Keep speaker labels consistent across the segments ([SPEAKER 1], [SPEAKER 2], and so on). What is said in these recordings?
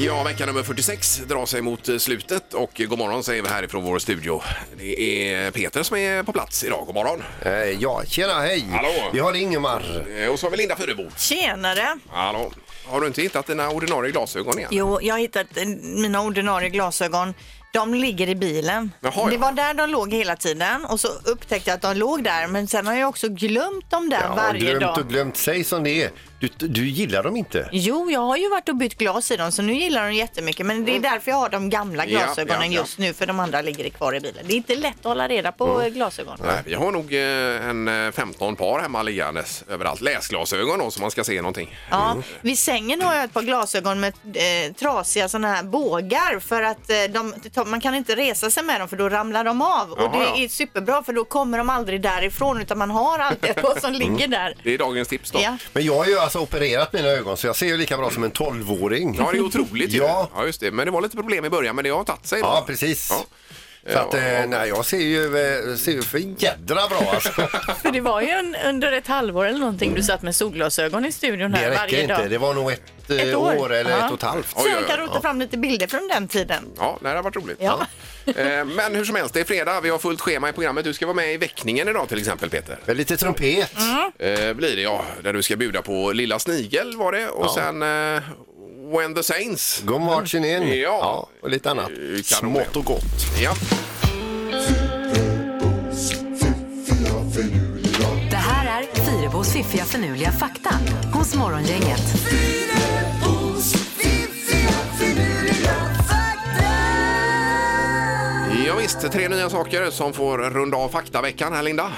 [SPEAKER 1] Ja, vecka nummer 46 drar sig mot eh, slutet och eh, god morgon säger vi härifrån vår studio. Det är Peter som är på plats idag. God morgon.
[SPEAKER 2] Eh, Ja, tjena hej!
[SPEAKER 1] Hallå.
[SPEAKER 2] Vi har Ingemar.
[SPEAKER 1] Eh, Och så har vi Linda Fyrebo.
[SPEAKER 3] Tjenare!
[SPEAKER 1] Hallå. Har du inte hittat dina ordinarie glasögon igen?
[SPEAKER 3] Jo, jag har hittat eh, mina ordinarie glasögon. De ligger i bilen.
[SPEAKER 1] Jaha, ja.
[SPEAKER 3] Det var där de låg hela tiden och så upptäckte jag att de låg där men sen har jag också glömt dem där
[SPEAKER 2] Ja,
[SPEAKER 3] varje
[SPEAKER 2] glömt
[SPEAKER 3] dag.
[SPEAKER 2] och glömt. Säg som det är. Du, du gillar dem inte.
[SPEAKER 3] Jo, jag har ju varit och bytt glas i dem så nu gillar de jättemycket men det är därför jag har de gamla
[SPEAKER 1] Mm. Ja,
[SPEAKER 3] glasögonen
[SPEAKER 1] ja, ja.
[SPEAKER 3] just nu för de andra ligger kvar i bilen. Det är inte lätt att hålla reda på eh, glasögon.
[SPEAKER 1] Mm. Nej, vi har nog eh, en eh, 15 par hemma liggandes överallt. Läsglasögon då, så man ska se någonting.
[SPEAKER 3] Ja, vid sängen har jag ett par glasögon med eh, trasiga sådana här bågar för att eh, de, man kan inte resa sig med dem för då ramlar de av. och
[SPEAKER 1] Jaha,
[SPEAKER 3] det
[SPEAKER 1] ja.
[SPEAKER 3] är superbra för då kommer de aldrig därifrån utan man har alltid ett par som
[SPEAKER 2] Mm.
[SPEAKER 3] ligger där.
[SPEAKER 1] Det är dagens tips då.
[SPEAKER 3] Ja.
[SPEAKER 2] Men jag har ju alltså opererat mina ögon så jag ser ju lika bra som en 12-åring.
[SPEAKER 1] Ja, det är otroligt ju.
[SPEAKER 2] Ja.
[SPEAKER 1] ja, just det. Men det var lite problem i början, men det har tagit sig. då.
[SPEAKER 2] Ja, precis.
[SPEAKER 1] Ja.
[SPEAKER 2] Så att,
[SPEAKER 1] Ja,
[SPEAKER 2] eh,
[SPEAKER 1] och-
[SPEAKER 2] nej, jag ser ju, eh, ser ju för jädra bra alltså.
[SPEAKER 4] För det var ju en, under ett halvår eller någonting du satt med solglasögon i studion här
[SPEAKER 2] Det räcker
[SPEAKER 4] varje
[SPEAKER 2] inte.
[SPEAKER 4] dag.
[SPEAKER 2] Det var nog ett, eh,
[SPEAKER 4] Ett
[SPEAKER 2] år.
[SPEAKER 4] år.
[SPEAKER 2] eller
[SPEAKER 4] Ja.
[SPEAKER 2] ett och ett halvt.
[SPEAKER 1] Oj,
[SPEAKER 3] Så
[SPEAKER 1] oj, oj.
[SPEAKER 3] jag kan rota fram lite bilder från den tiden.
[SPEAKER 1] Ja, nej, det har varit roligt.
[SPEAKER 4] Ja.
[SPEAKER 1] Eh, Men hur som helst, det är fredag. Vi har fullt schema i programmet. Du ska vara med i väckningen idag till exempel, Peter.
[SPEAKER 2] Med lite trumpet.
[SPEAKER 1] eh, blir det ja, där du ska bjuda på Lilla Snigel var det och sen eh, When the Saints.
[SPEAKER 2] Gå marchen in.
[SPEAKER 1] Ja.
[SPEAKER 2] och lite annat.
[SPEAKER 1] Eh, kanon.
[SPEAKER 2] Smått och gott.
[SPEAKER 1] Ja.
[SPEAKER 5] Det här är Fyrabos fiffiga förnuliga fakta hos Morgongänget.
[SPEAKER 1] ja, visst, tre nya saker som får runda av faktaveckan här Linda.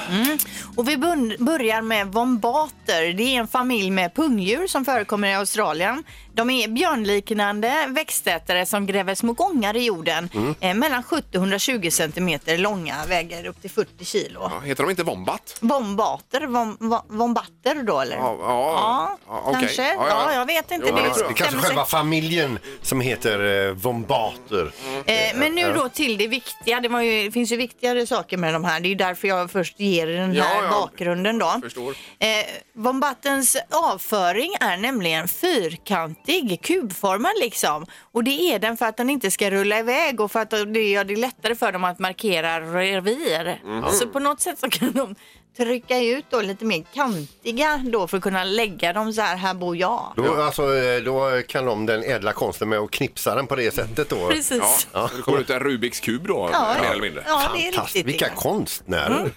[SPEAKER 3] Och vi bun- börjar med vombater. Det är en familj med pungdjur som förekommer i Australien. De är björnliknande växtätare som gräver små gångar i jorden.
[SPEAKER 1] Mm.
[SPEAKER 3] Eh, mellan 70 och 120 centimeter långa, väger upp till 40 kilo.
[SPEAKER 1] Ja, heter de inte Wombat?
[SPEAKER 3] Bombater, vom, vom, vombatter då eller?
[SPEAKER 1] Ja, ja, ja, okej.
[SPEAKER 3] kanske.
[SPEAKER 1] Ja,
[SPEAKER 3] Ja,
[SPEAKER 1] ja.
[SPEAKER 3] jag vet inte.
[SPEAKER 1] Jo,
[SPEAKER 3] det
[SPEAKER 1] ja,
[SPEAKER 2] Det är kanske
[SPEAKER 3] stämmer
[SPEAKER 2] själva
[SPEAKER 3] säkert.
[SPEAKER 2] familjen som heter eh, Vombater.
[SPEAKER 3] Eh, men nu då till det viktiga. Det, var ju, det finns ju viktigare saker med de här. Det är ju därför jag först ger den
[SPEAKER 1] Ja,
[SPEAKER 3] här
[SPEAKER 1] ja.
[SPEAKER 3] bakgrunden då.
[SPEAKER 1] Förstår.
[SPEAKER 3] Eh, Vombattens avföring är nämligen fyrkantig, kubformad liksom. Och det är den för att den inte ska rulla iväg och för att det gör det lättare för dem att markera revir.
[SPEAKER 1] Mhm.
[SPEAKER 3] Så på något sätt så kan de trycka ut då lite mer kantiga då för att kunna lägga dem så här, här bor jag.
[SPEAKER 2] Då, alltså, eh, då kan de den ädla konsten med att knipsa den på det sättet då.
[SPEAKER 4] Precis.
[SPEAKER 1] Ja, Det kommer ut en Rubiks kub då, mer eller mindre.
[SPEAKER 3] ja, det är
[SPEAKER 2] Fantastiskt,
[SPEAKER 3] riktigt.
[SPEAKER 2] vilka
[SPEAKER 3] Ingmar.
[SPEAKER 2] konstnärer!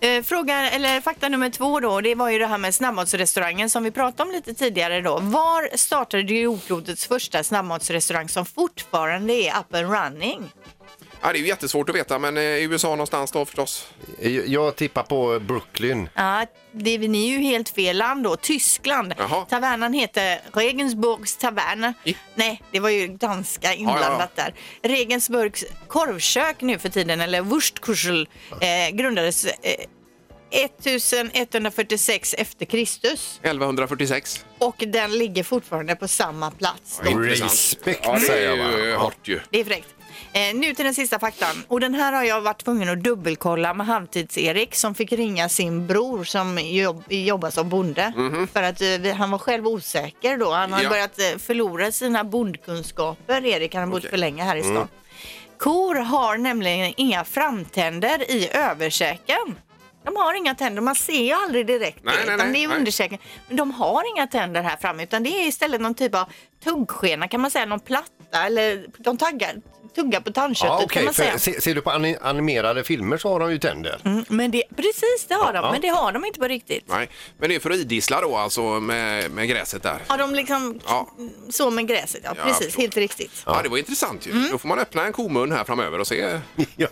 [SPEAKER 3] Eh, Fråga, eller fakta nummer två då, det var ju det här med snabbmatsrestaurangen som vi pratade om lite tidigare då. Var startade jordklotets första snabbmatsrestaurang som fortfarande är up and running?
[SPEAKER 1] Ja, det är ju jättesvårt att veta, men eh, i USA någonstans då förstås.
[SPEAKER 2] Jag- Eh, Jag tippar på Brooklyn.
[SPEAKER 3] Ja, det är ni är ju helt fel land då, Tyskland.
[SPEAKER 1] Jaha.
[SPEAKER 3] Tavernan heter Regensburgs tavern.
[SPEAKER 1] I-
[SPEAKER 3] Nej, det var ju danska inblandat där. Regensburgs korvkök nu för tiden, eller Wurstkuschel, eh, grundades eh, 1146 efter Kristus.
[SPEAKER 1] 1146.
[SPEAKER 3] Och den ligger fortfarande på samma plats. Då.
[SPEAKER 1] Intressant.
[SPEAKER 2] Respekt,
[SPEAKER 1] ja,
[SPEAKER 2] säger
[SPEAKER 1] Det är ju
[SPEAKER 2] jag
[SPEAKER 1] eh,
[SPEAKER 2] bara.
[SPEAKER 1] hårt ju.
[SPEAKER 3] Det är fräckt. Eh, nu till den sista faktan. Och den här har jag varit tvungen att dubbelkolla med Halvtids-Erik som fick ringa sin bror som jobb, jobbar som bonde. För att eh, vi- han var själv osäker då. Han har
[SPEAKER 1] Mhm. Ja.
[SPEAKER 3] börjat eh, förlora sina bondkunskaper. Erik, han har bott
[SPEAKER 1] Okej. Mm.
[SPEAKER 3] för länge här i stan. Kor har nämligen inga framtänder i översäken. De har inga tänder, man ser ju aldrig direkt
[SPEAKER 1] Nej,
[SPEAKER 3] det,
[SPEAKER 1] nej,
[SPEAKER 3] utan
[SPEAKER 1] nej,
[SPEAKER 3] det är
[SPEAKER 1] nej.
[SPEAKER 3] undersäken. Men de har inga tänder här framme utan det är istället någon typ av tuggskena kan man säga, någon platta eller de taggar, tuggar på tandköttet
[SPEAKER 2] Ja,
[SPEAKER 3] kan
[SPEAKER 2] okej.
[SPEAKER 3] man
[SPEAKER 2] för
[SPEAKER 3] säga.
[SPEAKER 2] se, ser du på ani- animerade filmer så har de ju tänder.
[SPEAKER 3] Mm, Men det, precis det har de, men det har de inte på riktigt.
[SPEAKER 1] Nej. Men det är för att idissla då, alltså med, med gräset där.
[SPEAKER 3] Har de liksom
[SPEAKER 1] Ja.
[SPEAKER 3] så med gräset? Ja,
[SPEAKER 1] Ja, jag
[SPEAKER 3] precis,
[SPEAKER 1] förstår.
[SPEAKER 3] helt riktigt.
[SPEAKER 1] Ja, det var intressant ju. Då får man öppna en komun här framöver och se.
[SPEAKER 2] Ja.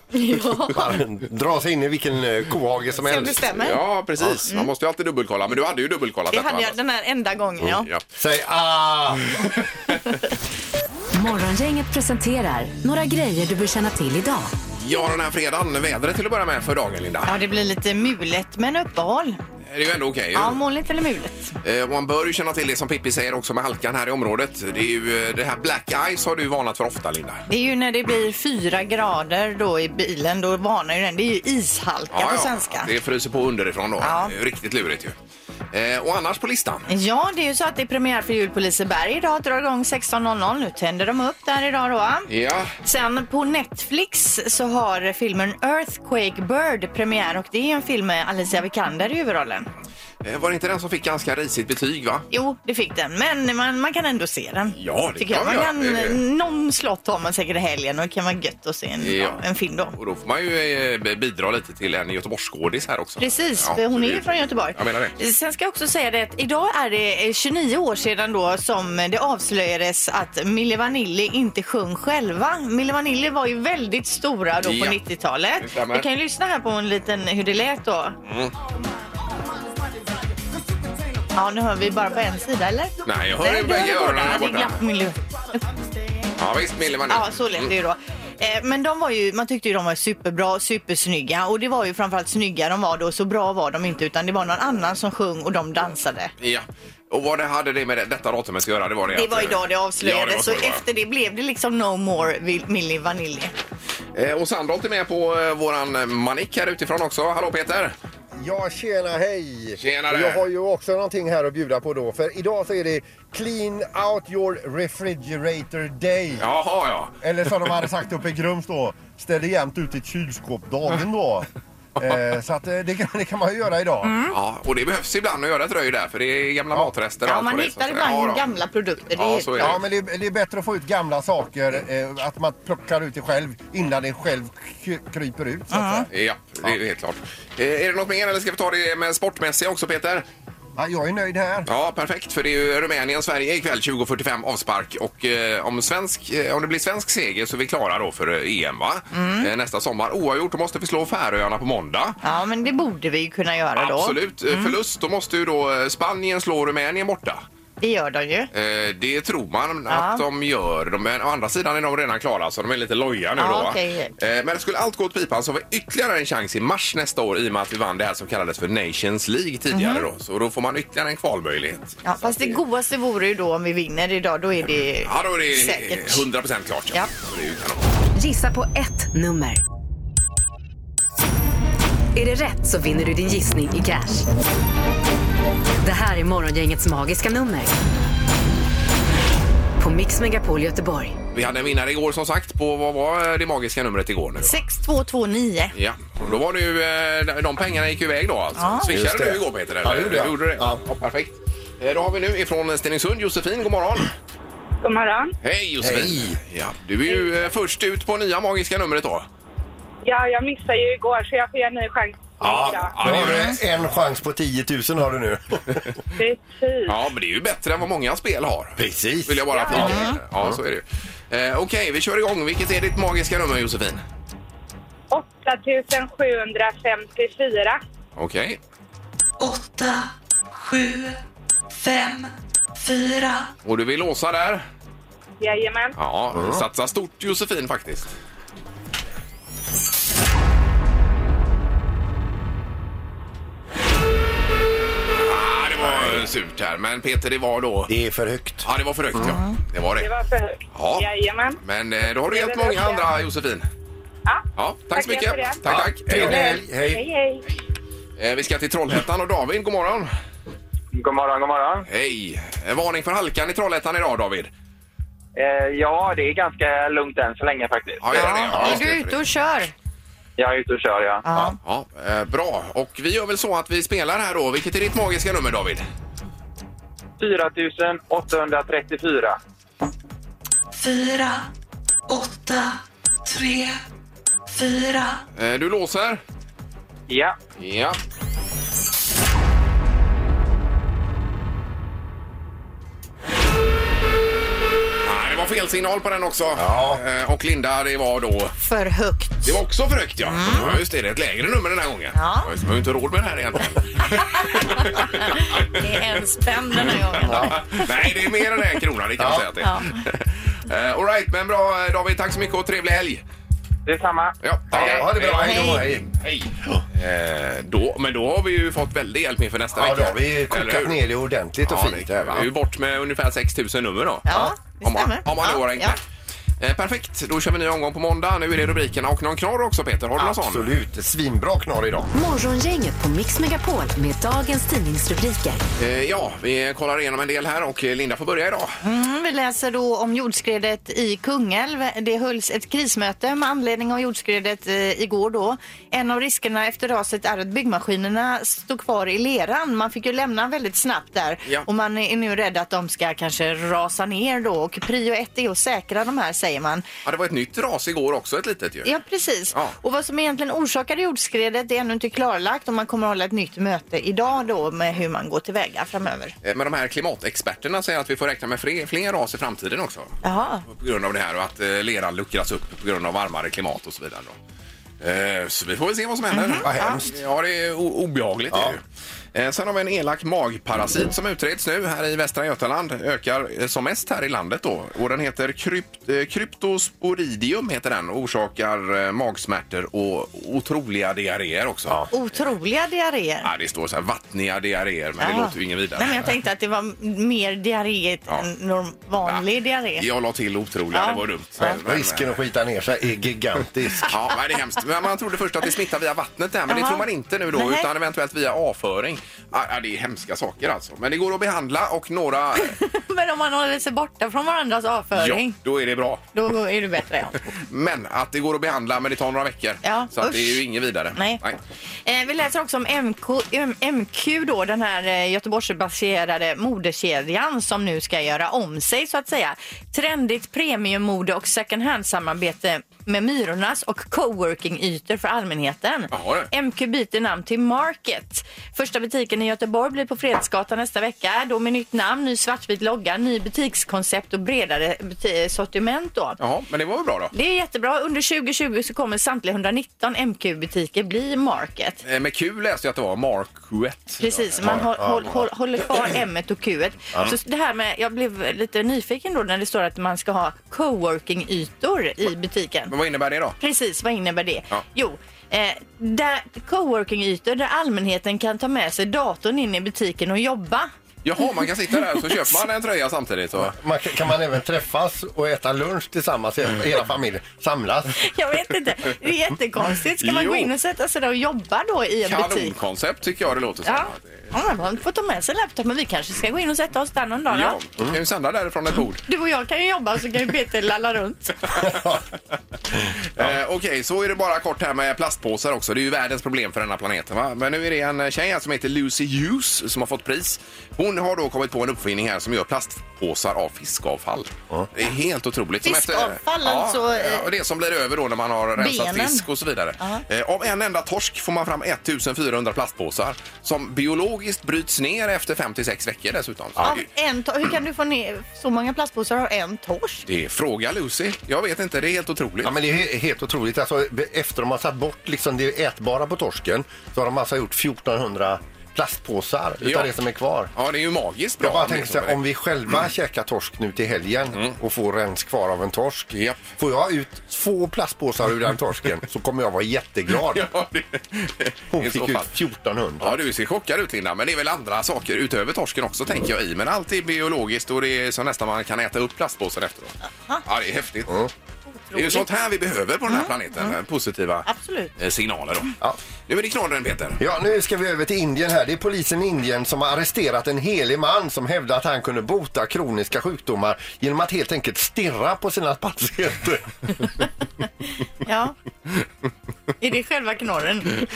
[SPEAKER 2] Bara Dra sig in i vilken eh, kohage som
[SPEAKER 3] Se om
[SPEAKER 2] helst.
[SPEAKER 3] det stämmer. Mm.
[SPEAKER 1] Ja, precis. Man måste ju alltid dubbelkolla. Men du hade ju dubbelkollat
[SPEAKER 3] Det
[SPEAKER 1] detta,
[SPEAKER 3] hade jag
[SPEAKER 1] Anders.
[SPEAKER 2] ah!
[SPEAKER 3] den här enda gången, ja.
[SPEAKER 1] Ja.
[SPEAKER 2] Säg ah!
[SPEAKER 5] Morgongänget presenterar några grejer du bör känna till idag.
[SPEAKER 1] Ja, den här fredagen, vädret till att börja med för dagen, Linda.
[SPEAKER 3] Ja, det blir lite mulet men uppehåll.
[SPEAKER 1] Det är ju ändå okej. ju.
[SPEAKER 3] Ja, molnigt eller mulet.
[SPEAKER 1] Eh, Man bör ju känna till det som Pippi säger också med halkan här i området. Det är ju eh, det här black ice har du varnat för ofta, Linda.
[SPEAKER 3] Det är ju när det blir fyra grader då i bilen, då varnar ju den. Det är ju ishalka på svenska.
[SPEAKER 1] Det fryser på underifrån då.
[SPEAKER 3] Ja.
[SPEAKER 1] Det är ju Riktigt lurigt ju. Eh, Och annars på listan?
[SPEAKER 3] Ja, det är ju så att det är premiär för jul på Liseberg idag. Drar igång 16.00. Nu tänder de upp där idag då. va?
[SPEAKER 1] Ja.
[SPEAKER 3] Sen på Netflix så har filmen Earthquake Bird premiär och det är en film med Alicia Vikander i huvudrollen.
[SPEAKER 1] Eh, Var det inte den som fick ganska risigt betyg, va?
[SPEAKER 3] Jo, det fick den, men man, man kan ändå se den.
[SPEAKER 1] Ja, det
[SPEAKER 3] tycker
[SPEAKER 1] kan
[SPEAKER 3] jag. Man
[SPEAKER 1] jag.
[SPEAKER 3] kan, eh,
[SPEAKER 1] Det-
[SPEAKER 3] någon slott har man säkert i helgen och det kan vara gött att se en,
[SPEAKER 1] Ja.
[SPEAKER 3] en film då.
[SPEAKER 1] Och då får man ju eh, b- bidra lite till en göteborgsskådis här också.
[SPEAKER 3] Precis,
[SPEAKER 1] Ja,
[SPEAKER 3] för hon
[SPEAKER 1] så
[SPEAKER 3] är
[SPEAKER 1] det-
[SPEAKER 3] ju från Göteborg. Eh,
[SPEAKER 1] Jag menar det.
[SPEAKER 3] Sen ska jag också säga det att idag är det eh, 29 år sedan då som det avslöjades att Milli Vanilli inte sjöng själva. Milli Vanilli var ju väldigt stora då på
[SPEAKER 1] Ja.
[SPEAKER 3] 90-talet.
[SPEAKER 1] Det stämmer. Mm.
[SPEAKER 3] Vi kan ju lyssna här på en liten hur det lät då. Ja, nu hör vi bara på en sida eller?
[SPEAKER 1] Nej, jag hör ju
[SPEAKER 3] du
[SPEAKER 1] bägge
[SPEAKER 3] hör
[SPEAKER 1] öronen
[SPEAKER 3] båda.
[SPEAKER 1] här
[SPEAKER 3] Det är
[SPEAKER 1] borta.
[SPEAKER 3] glapp miljö.
[SPEAKER 1] Ja, visst, Mm. Milli var
[SPEAKER 3] Ja, så lät det ju då. Eh, Men de var ju, man tyckte ju de var superbra, supersnygga och det var ju framförallt snygga de var då, så bra var de inte utan det var någon annan som sjöng och de dansade.
[SPEAKER 1] Ja. Och vad det hade det med det, detta datumet att göra? Det var, det
[SPEAKER 3] Det
[SPEAKER 1] att-
[SPEAKER 3] var idag det
[SPEAKER 1] Ja, det var
[SPEAKER 3] avslöjades
[SPEAKER 1] så
[SPEAKER 3] och
[SPEAKER 1] det var.
[SPEAKER 3] efter det blev det liksom No More Vil- Milli Vanilli.
[SPEAKER 1] Eh, Och Sandholt är med på eh, våran manik här utifrån också. Hallå Peter!
[SPEAKER 6] Ja, tjena, hej!
[SPEAKER 1] Tjenare.
[SPEAKER 6] Och Jag har ju också någonting här att bjuda på då, för idag så är det Clean Out Your Refrigerator Day.
[SPEAKER 1] Jaha, ja.
[SPEAKER 6] Eller som de hade sagt uppe i Grums då, ställ jämt ut ett kylskåp dagen då. eh, så att eh, det kan, det kan man ju göra idag.
[SPEAKER 1] ja. Och det behövs ibland att göra ett röj där för det är gamla matrester och
[SPEAKER 3] Mm. Ja,
[SPEAKER 1] allt
[SPEAKER 3] man
[SPEAKER 1] vad det är, så att
[SPEAKER 3] hittar
[SPEAKER 1] säga. Ja,
[SPEAKER 3] ibland
[SPEAKER 1] då.
[SPEAKER 3] gamla produkter. Det
[SPEAKER 1] Ja,
[SPEAKER 3] är
[SPEAKER 1] så är
[SPEAKER 6] Ja, men det är, det är bättre att få ut gamla saker, eh, att man plockar ut det själv innan det själv k- kryper ut. Så att säga.
[SPEAKER 1] Ja, det är helt klart. Eh, Är det något mer eller ska vi ta det med sportmässiga också Peter?
[SPEAKER 6] Ja, jag är nöjd här.
[SPEAKER 1] Ja, perfekt för det är ju Rumänien-Sverige ikväll 20.45 avspark och eh, om, svensk, eh, om det blir svensk seger så är vi klara då för eh, EM va?
[SPEAKER 3] Mm.
[SPEAKER 1] Eh, nästa sommar. Oavgjort, då måste vi slå Färöarna på måndag.
[SPEAKER 3] Ja, men det borde vi ju kunna göra då.
[SPEAKER 1] Absolut.
[SPEAKER 3] Mm.
[SPEAKER 1] Eh, Förlust, då måste ju då eh, Spanien slå Rumänien borta.
[SPEAKER 3] Det gör de ju.
[SPEAKER 1] Eh, det tror man
[SPEAKER 3] Ja.
[SPEAKER 1] att de gör. De, men å andra sidan är de redan klara så de är lite loja nu
[SPEAKER 3] Ja,
[SPEAKER 1] då. va?
[SPEAKER 3] okej.
[SPEAKER 1] Eh, men skulle allt gå åt pipan så har vi ytterligare en chans i mars nästa år i och med att vi vann det här som kallades för Nations League tidigare då. Så då får man ytterligare en kvalmöjlighet.
[SPEAKER 3] Mhm. Ja, fast det godaste vore ju då om vi vinner idag, då är det
[SPEAKER 1] Ja, då är det
[SPEAKER 3] säkert.
[SPEAKER 1] 100% klart.
[SPEAKER 3] Ja.
[SPEAKER 1] Så det är ju kanon.
[SPEAKER 5] Gissa på ett nummer. Är det rätt så vinner du din gissning i cash. Det här är Morgongängets magiska nummer. På Mix Megapol Göteborg.
[SPEAKER 1] Vi hade en vinnare igår som sagt på vad var eh, det magiska numret igår nu?
[SPEAKER 3] 6229.
[SPEAKER 1] Ja, och då var det ju, eh, de pengarna gick ju iväg då alltså.
[SPEAKER 3] Ja.
[SPEAKER 1] Swishade
[SPEAKER 2] Just det.
[SPEAKER 1] du igår Peter? Eller?
[SPEAKER 2] Ja, det gjorde jag.
[SPEAKER 1] Du gjorde det. Ja.
[SPEAKER 2] Ja.
[SPEAKER 1] perfekt. Eh, Då har vi nu ifrån Stenungsund Josefin, god morgon.
[SPEAKER 7] God morgon.
[SPEAKER 1] Hej Josefin!
[SPEAKER 2] Hej.
[SPEAKER 1] Ja, du är ju eh, först ut på nya magiska numret då.
[SPEAKER 7] Ja, jag missade ju igår så jag får ge en ny chans.
[SPEAKER 1] ja,
[SPEAKER 2] Då
[SPEAKER 1] det
[SPEAKER 2] har
[SPEAKER 1] är
[SPEAKER 2] du
[SPEAKER 1] ju-
[SPEAKER 6] Mm.
[SPEAKER 2] en chans på 10 000 har du nu.
[SPEAKER 7] Precis.
[SPEAKER 1] ja, men det är ju bättre än vad många spel har.
[SPEAKER 2] Precis.
[SPEAKER 1] Vill jag bara flika in.
[SPEAKER 2] Ja.
[SPEAKER 1] Ja, så är det ju. Eh, Okej, vi kör igång. Vilket är ditt magiska nummer Josefin?
[SPEAKER 7] 8754.
[SPEAKER 1] Okej.
[SPEAKER 8] 8, 7, 5, 4.
[SPEAKER 1] Och du vill låsa där?
[SPEAKER 7] Jajamän.
[SPEAKER 1] Ja, satsa stort Josefin faktiskt. Ah, det var eh, surt här, men Peter det var då...
[SPEAKER 2] Det är för högt.
[SPEAKER 1] Ja, det var för högt ja. Det var
[SPEAKER 7] Det
[SPEAKER 1] det.
[SPEAKER 7] var för högt.
[SPEAKER 1] Ja.
[SPEAKER 7] Jajamän.
[SPEAKER 1] Men eh, då har du
[SPEAKER 7] Det
[SPEAKER 1] hjälpt
[SPEAKER 7] är väl
[SPEAKER 1] många
[SPEAKER 7] upp det.
[SPEAKER 1] andra, Josefin.
[SPEAKER 7] Ja.
[SPEAKER 1] Ja, tack, så
[SPEAKER 7] Tackar
[SPEAKER 1] mycket.
[SPEAKER 7] för det.
[SPEAKER 1] Tack, tack. Hej då.
[SPEAKER 2] Hej,
[SPEAKER 7] Hej,
[SPEAKER 2] hej.
[SPEAKER 7] hej.
[SPEAKER 1] Eh, Vi ska till Trollhättan och David, god morgon.
[SPEAKER 8] God morgon, god morgon.
[SPEAKER 1] Hej! Eh, Varning för halkan i Trollhättan idag, David.
[SPEAKER 8] Eh, ja, det är ganska lugnt än så länge faktiskt.
[SPEAKER 1] Ja, gör det. Ja,
[SPEAKER 3] Är
[SPEAKER 1] just
[SPEAKER 3] du
[SPEAKER 1] det, för
[SPEAKER 3] ute
[SPEAKER 1] det.
[SPEAKER 3] och kör?
[SPEAKER 8] Jag är ute och kör, ja.
[SPEAKER 3] Ja.
[SPEAKER 1] Ja, eh, bra. Och vi gör väl så att vi spelar här då. Vilket är ditt magiska nummer, David?
[SPEAKER 8] 4834.
[SPEAKER 7] 4, 8, 3, 4.
[SPEAKER 1] Eh, Du låser?
[SPEAKER 8] Ja.
[SPEAKER 1] Ja. Nej, Det var fel signal på den också.
[SPEAKER 2] Ja.
[SPEAKER 1] Eh, Och Linda, det var då...
[SPEAKER 3] För högt.
[SPEAKER 1] Det var också för högt, ja. ja just det, det är ett lägre nummer den här gången.
[SPEAKER 3] Mm. Ja.
[SPEAKER 1] Just det, Vi har ju inte råd med det här egentligen.
[SPEAKER 3] Det är en spänn den här gången.
[SPEAKER 1] Nej, det är mer än en krona, det kan man säga att det är. Eh, all right, men bra eh, David. Tack så mycket och trevlig helg.
[SPEAKER 8] Detsamma.
[SPEAKER 1] Ja, tack.
[SPEAKER 2] Ja, ha det bra. Hej då, hej.
[SPEAKER 1] Hej. Eh, då, men då har vi ju fått väldig hjälp inför nästa
[SPEAKER 2] Ja,
[SPEAKER 1] vecka.
[SPEAKER 2] då har vi
[SPEAKER 1] Eller hur?
[SPEAKER 2] kokat ner det ordentligt och
[SPEAKER 1] Ja,
[SPEAKER 2] fint.
[SPEAKER 1] det
[SPEAKER 2] Här,
[SPEAKER 1] är ju
[SPEAKER 2] va?
[SPEAKER 1] bort med ungefär 6 000 nummer då.
[SPEAKER 3] Ja, det
[SPEAKER 1] Om man,
[SPEAKER 3] stämmer.
[SPEAKER 1] om man
[SPEAKER 3] Ja,
[SPEAKER 1] då har hängt
[SPEAKER 3] ja.
[SPEAKER 1] med. Eh, perfekt, då kör vi en ny omgång på måndag. Nu är det rubrikerna och någon knorr också Peter. Har du någon sån?
[SPEAKER 2] Absolut, svinbra knorr idag.
[SPEAKER 5] Morgongänget på Mix Megapol med dagens tidningsrubriker.
[SPEAKER 1] Eh, ja, vi kollar igenom en del här och eh, Linda får börja idag.
[SPEAKER 3] Mm, vi läser då om jordskredet i Kungälv. Det hölls ett krismöte med anledning av jordskredet eh, igår då. En av riskerna efter raset är att byggmaskinerna stod kvar i leran. Man fick ju lämna väldigt snabbt där
[SPEAKER 1] Ja.
[SPEAKER 3] och man är nu rädd att de ska kanske rasa ner då och prio ett är att säkra de här säger man.
[SPEAKER 1] Ja, det var ett nytt ras igår också, ett litet ju.
[SPEAKER 3] Ja, precis.
[SPEAKER 1] Ja.
[SPEAKER 3] Och vad som egentligen orsakade jordskredet det är ännu inte klarlagt och man kommer att hålla ett nytt möte idag då med hur man går tillväga framöver.
[SPEAKER 1] Eh, Men de här klimatexperterna säger att vi får räkna med fler, fler ras i framtiden också.
[SPEAKER 3] Jaha.
[SPEAKER 1] På grund av det här och att eh, leran luckras upp på grund av varmare klimat och så vidare. Då. Eh, Så vi får väl se vad som händer.
[SPEAKER 3] Mhm.
[SPEAKER 2] Vad hemskt.
[SPEAKER 1] Ja, det är o- obehagligt. Är det. ju. Eh, Sen har vi en elak magparasit som utreds nu här i Västra Götaland. Ökar eh, som mest här i landet då. Och den heter krypt, eh, kryptosporidium heter den och orsakar eh, magsmärtor och otroliga diarréer också. Ja.
[SPEAKER 3] Otroliga diarréer.
[SPEAKER 1] det står så här vattniga diarréer men det
[SPEAKER 3] Ja.
[SPEAKER 1] låter ju inget vidare.
[SPEAKER 3] Nej, men jag tänkte att det var mer diarré
[SPEAKER 1] Ja.
[SPEAKER 3] än norm- vanlig diarré.
[SPEAKER 1] Jag la till otroliga,
[SPEAKER 3] Ja.
[SPEAKER 1] det var dumt.
[SPEAKER 2] Men Risken att skita ner sig är gigantisk.
[SPEAKER 1] Ja, men det är hemskt. Men man trodde först att det smittar via vattnet där, men det
[SPEAKER 3] Jaha.
[SPEAKER 1] tror man inte nu då,
[SPEAKER 3] Nej.
[SPEAKER 1] utan eventuellt via avföring. Ja, ja, det är hemska saker alltså. Men det går att behandla och några...
[SPEAKER 4] Men om man håller sig borta från varandras
[SPEAKER 1] ja,
[SPEAKER 4] avföring,
[SPEAKER 1] då är det bra.
[SPEAKER 4] då är det bättre. Ja.
[SPEAKER 1] Men att det går att behandla, men det tar några veckor.
[SPEAKER 3] Ja,
[SPEAKER 1] Så att det är ju
[SPEAKER 3] usch.
[SPEAKER 1] inget vidare.
[SPEAKER 3] Nej. Eh, vi läser också om MK, M- MQ då, den här eh, Göteborgsbaserade modekedjan som nu ska göra om sig så att säga. Trendigt premiummode och second hand-samarbete med Myrornas och coworking-ytor för allmänheten.
[SPEAKER 1] Jaha, det.
[SPEAKER 3] MQ byter namn till Market. Första butiken i Göteborg blir på Fredsgatan nästa vecka. Då med nytt namn, ny svartvit logga, ny butikskoncept och bredare buti- sortiment då.
[SPEAKER 1] Jaha, men det var väl bra då?
[SPEAKER 3] Det är jättebra. Under 2020 så kommer samtliga 119 MQ-butiker bli Market.
[SPEAKER 1] Eh, Med Q läste jag att det var Markuet.
[SPEAKER 3] Precis, man håll, håll, håll, håller kvar M och Q. Så det här med, jag blev lite nyfiken då när det står att man ska ha coworking-ytor i butiken.
[SPEAKER 1] Men vad innebär det då?
[SPEAKER 3] Precis, vad innebär det?
[SPEAKER 1] Ja.
[SPEAKER 3] Jo, eh, där, coworking-ytor där allmänheten kan ta med sig datorn in i butiken och jobba.
[SPEAKER 1] Jaha, man kan sitta där och så köper man en tröja samtidigt. Och...
[SPEAKER 2] Man, kan kan man även träffas och äta lunch tillsammans,
[SPEAKER 1] Mm.
[SPEAKER 2] he- hela familjen? Samlas?
[SPEAKER 3] Jag vet inte, det är jättekonstigt. Ska man gå
[SPEAKER 1] Jo.
[SPEAKER 3] in och sätta sig där och jobba då i en butik?
[SPEAKER 1] Kanonkoncept tycker jag det låter som.
[SPEAKER 3] Ja. Ja, man får ta med sig laptop, men vi kanske ska gå in och sätta oss där någon dag.
[SPEAKER 1] Ja, vi
[SPEAKER 3] Ja.
[SPEAKER 1] kan ju sända därifrån ett bord.
[SPEAKER 3] Du och jag kan ju jobba så kan ju Peter lalla runt.
[SPEAKER 1] Eh, Okej, så är det bara kort här med plastpåsar också. Det är ju världens problem för denna planeten. Va? Men nu är det en tjej här som heter Lucy Hughes som har fått pris. Hon har då kommit på en uppfinning här som gör plastpåsar av fiskavfall. Det är helt otroligt. Som efter-
[SPEAKER 3] Fiskavfall,
[SPEAKER 1] ja,
[SPEAKER 3] alltså, eh,
[SPEAKER 1] Ja, och det som blir över då när man har rensat
[SPEAKER 3] benen.
[SPEAKER 1] fisk och så vidare. Eh, av en enda torsk får man fram 1400 plastpåsar som biologiskt bryts ner efter 5-6 veckor dessutom. Så
[SPEAKER 3] Av
[SPEAKER 1] det är ju-
[SPEAKER 3] en to- hur kan du få ner så många plastpåsar av en torsk?
[SPEAKER 1] Det är fråga Lucy. Jag vet inte, det är helt otroligt.
[SPEAKER 2] Ja, men det är he- helt otroligt. Alltså, be- efter de har satt bort liksom det ätbara på torsken så har de alltså gjort 1400 plastpåsar utav
[SPEAKER 1] Ja.
[SPEAKER 2] det som är kvar.
[SPEAKER 1] Ja, det är ju magiskt bra.
[SPEAKER 2] Jag bara
[SPEAKER 1] om det Mm. är så
[SPEAKER 2] tänkte så
[SPEAKER 1] med
[SPEAKER 2] här,
[SPEAKER 1] det.
[SPEAKER 2] om vi själva käkar torsk nu till helgen och får rens kvar av en torsk.
[SPEAKER 1] Japp.
[SPEAKER 2] Får jag ut två plastpåsar ur den torsken så kommer jag vara jätteglad.
[SPEAKER 1] Ja, det,
[SPEAKER 2] Hon
[SPEAKER 1] i så
[SPEAKER 2] fick ut
[SPEAKER 1] fall.
[SPEAKER 2] 1400.
[SPEAKER 1] Ja, du ser chockad ut Linda, men det är väl andra saker utöver torsken också tänker jag i. Men allt är biologiskt och det är så nästan man kan äta upp plastpåsen efteråt. Ja, det är häftigt. Det är ju sånt här vi behöver på den här planeten, eh, positiva
[SPEAKER 3] Absolut.
[SPEAKER 1] eh, signaler då.
[SPEAKER 2] Ja.
[SPEAKER 1] Nu är det knorren Peter.
[SPEAKER 2] Ja, nu ska vi över till Indien här. Det är polisen i Indien som har arresterat en helig man som hävdade att han kunde bota kroniska sjukdomar genom att helt enkelt stirra på sina patienter.
[SPEAKER 3] Ja. Är det själva knorren?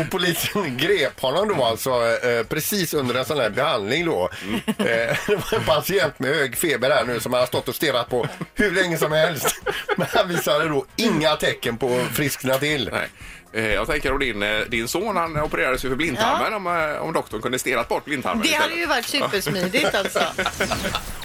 [SPEAKER 2] Och polisen grep honom då alltså eh, precis under en sån här behandling då. Eh, det var en patient med hög feber här nu som han har stått och stirrat på hur länge som helst. Men han visade då inga tecken på att friskna till.
[SPEAKER 1] Nej. Eh, Jag tänker om din, eh, din son, han opererades ju för blindtarmen om, eh, om doktorn kunde stelat bort blindtarmen
[SPEAKER 3] Det hade
[SPEAKER 1] istället.
[SPEAKER 3] ju varit supersmidigt alltså.